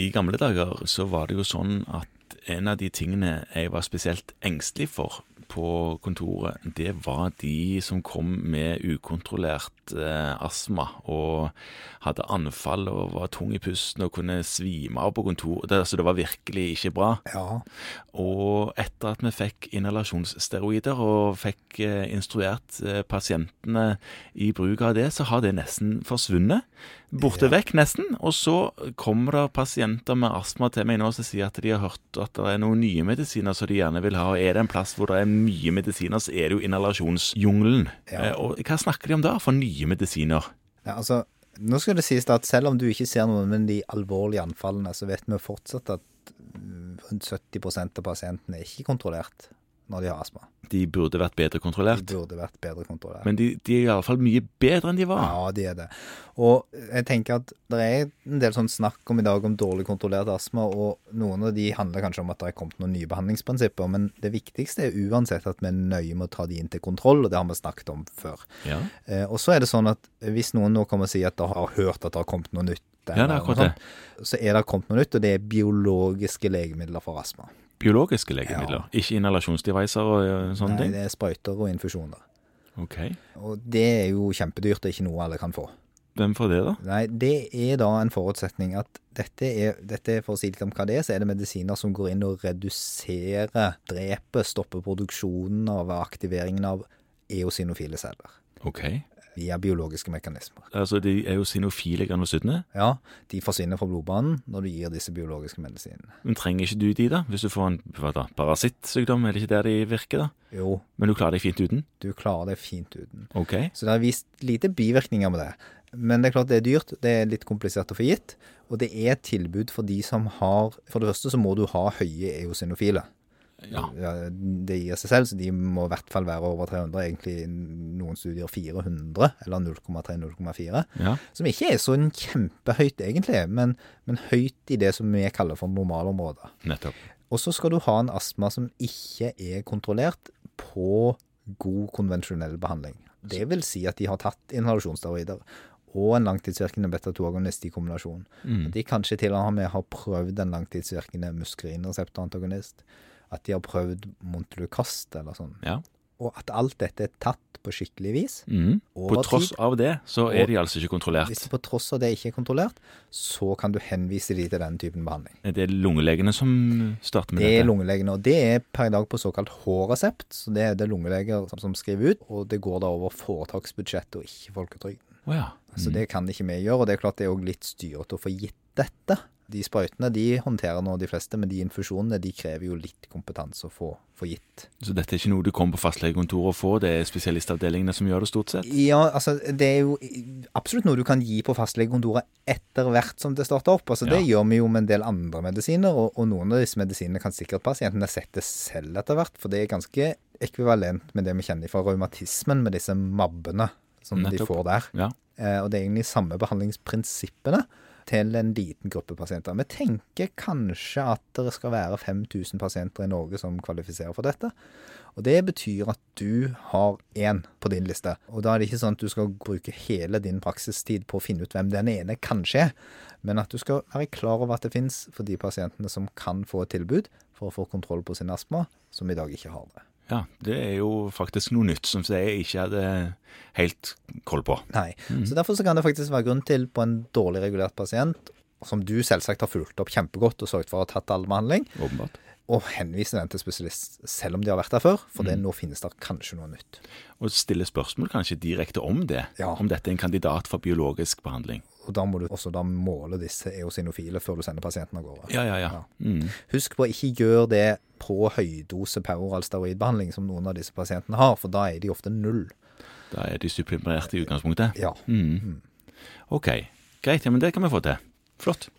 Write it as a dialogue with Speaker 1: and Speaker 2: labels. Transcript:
Speaker 1: I gamle dager så var det jo sånn at en av de tingene jeg var spesielt engstelig for på kontoret, det var de som kom med ukontrollert eh, astma og hadde anfall og var tung i pusten og kunne svime av på kontoret. Det, altså, det var virkelig ikke bra.
Speaker 2: Ja.
Speaker 1: Og etter at vi fikk inhalasjonssteroider og fikk eh, instruert eh, pasientene i bruk av det, så har det nesten forsvunnet. Borte vekk, nesten. Og så kommer det pasienter med astma til meg nå som sier at de har hørt at det er noen nye medisiner som de gjerne vil ha. Og er det en plass hvor det er mye medisiner, så er det jo inhalasjonsjungelen.
Speaker 2: Ja.
Speaker 1: Eh, Og hva snakker de om da, for nye medisiner?
Speaker 2: ja, altså, nå skal det sies da at selv om du ikke ser noen med de alvorlige anfallene, så vet vi fortsatt at mm, rundt 70 av pasientene er ikke kontrollert når de har astma.
Speaker 1: De burde vært bedre
Speaker 2: De
Speaker 1: kontrollert.
Speaker 2: burde vært bedre kontrollert.
Speaker 1: Men Ah. de, de er iallfall mye bedre enn de var.
Speaker 2: Ja, de er det. Og jeg tenker at det er en del sånn snakk om i dag om dårlig kontrollert astma, og noen av de handler kanskje om at det er kommet noen nye behandlingsprinsipper, men det viktigste er uansett at vi er nøye med å ta de inn til kontroll, og det har vi snakket om før.
Speaker 1: Ja.
Speaker 2: Eh, og så er det sånn at hvis noen nå kommer og sier at de har hørt at det har kommet noe nytt,
Speaker 1: Ja, det er
Speaker 2: eller noe
Speaker 1: akkurat det.
Speaker 2: sånt, så er det kommet noe nytt, og det er biologiske legemidler for astma.
Speaker 1: biologiske legemidler, ikke inhalasjonsdeviser og ø, sånne
Speaker 2: Nei,
Speaker 1: Sånn ting?
Speaker 2: det er sprøyter og infusjoner.
Speaker 1: Ok.
Speaker 2: Og det er jo kjempedyrt, det er ikke noe alle kan få.
Speaker 1: Hvem får det, da?
Speaker 2: Nei, det er da en forutsetning at dette er, dette er for å si litt om hva det er, så er det medisiner som går inn og reduserer, dreper, stopper produksjonen av aktiveringen av eosinofile celler
Speaker 1: Ok.
Speaker 2: via biologiske mekanismer.
Speaker 1: Altså, de er jo sinofile granulocyttene.
Speaker 2: Ja, de forsvinner fra blodbanen når du gir disse biologiske medisinene.
Speaker 1: Men trenger ikke du de, da? Hvis du får en hva da, parasittsykdom, er det ikke der de virker, da?
Speaker 2: Jo,
Speaker 1: Men du klarer deg fint uten?
Speaker 2: du klarer det fint uten.
Speaker 1: Ok.
Speaker 2: Så det er vist lite bivirkninger med det. Men det er klart det er dyrt, det er litt komplisert å få gitt, og det er et tilbud for de som har For det første så må du ha høye eosinofile.
Speaker 1: Ja.
Speaker 2: ja, det gir seg selv, så de må i hvert fall være over 300, egentlig noen studier 400, eller 0,3-0,4,
Speaker 1: ja.
Speaker 2: som ikke er sånn kjempehøyt egentlig, men, men høyt i det som vi kaller for normalområdet.
Speaker 1: Nettopp.
Speaker 2: Og så skal du ha en astma som ikke er kontrollert på god konvensjonell behandling. Det vil si at de har tatt inhalasjonssteroider og en langtidsvirkende beta-2-agonist i kombinasjon.
Speaker 1: Mm.
Speaker 2: At de kanskje til og med har prøvd en langtidsvirkende muskrinreseptorantagonist. At de har prøvd Montelukast eller sånn.
Speaker 1: Ja.
Speaker 2: Og at alt dette er tatt på skikkelig vis.
Speaker 1: Mhm. På
Speaker 2: Over
Speaker 1: tross
Speaker 2: tid.
Speaker 1: av det, så er de altså ikke
Speaker 2: Hvis
Speaker 1: kontrollert.
Speaker 2: på tross av det ikke er kontrollert, så kan du henvise de til den typen behandling.
Speaker 1: Det er lungelegene som starter med
Speaker 2: Det er
Speaker 1: dette.
Speaker 2: lungelegene, og det er per i dag på såkalt H-resept. Så det er det lungeleger som, som skriver ut, og det går da over foretaksbudsjettet og ikke folketrygden.
Speaker 1: Å ja. Mm.
Speaker 2: Så Altså, det kan ikke vi gjøre, og det er klart det er òg litt styrete å få gitt dette. De sprøytene de håndterer nå de fleste, men de infusjonene de krever jo litt kompetanse å få, få gitt.
Speaker 1: Så dette er ikke noe du kommer på fastlegekontoret og får, det er spesialistavdelingene som gjør det stort sett?
Speaker 2: Ja, altså det er jo absolutt noe du kan gi på fastlegekontoret etter hvert som det starter opp. Altså Det gjør vi jo med en del andre medisiner, og, og noen av disse medisinene kan sikkert pasientene sette selv etter hvert, for det er ganske ekvivalent med det vi kjenner fra revmatismen med disse mabbene som de
Speaker 1: Nettopp.
Speaker 2: får der.
Speaker 1: Ja.
Speaker 2: Eh, Og det er egentlig samme behandlingsprinsippene til en liten gruppe pasienter. Vi tenker kanskje at det skal være 5000 pasienter i Norge som kvalifiserer for dette. Og det betyr at du har én på din liste. Og da er det ikke sånn at du skal bruke hele din praksistid på å finne ut hvem den ene kanskje er, men at du skal være klar over at det fins for de pasientene som kan få et tilbud for å få kontroll på sin astma, som i dag ikke har det.
Speaker 1: Ja, det er jo faktisk noe nytt som jeg ikke hadde helt koll på.
Speaker 2: Nei. Så derfor så kan det faktisk være grunn til på en dårlig regulert pasient, som du selvsagt har fulgt opp kjempegodt og sørget for å ha tatt all behandling,
Speaker 1: Åpenbart.
Speaker 2: og henvise den til spesialist, selv om de har vært der før, for det, nå finnes det kanskje noe nytt.
Speaker 1: Og stille spørsmål kanskje direkte om det.
Speaker 2: Ja.
Speaker 1: Om dette er en kandidat for biologisk behandling.
Speaker 2: Og da må du også da måle disse eosinofile før du sender pasienten av gårde.
Speaker 1: Ja, ja, ja. Mm.
Speaker 2: Husk på å ikke gjøre det på høydose peroral steroidbehandling som noen av disse pasientene har, for da er de ofte null.
Speaker 1: Da er de supprimerte i utgangspunktet. Mm.
Speaker 2: Ja.
Speaker 1: Ok, greit. Ja, men det kan vi få til. Flott.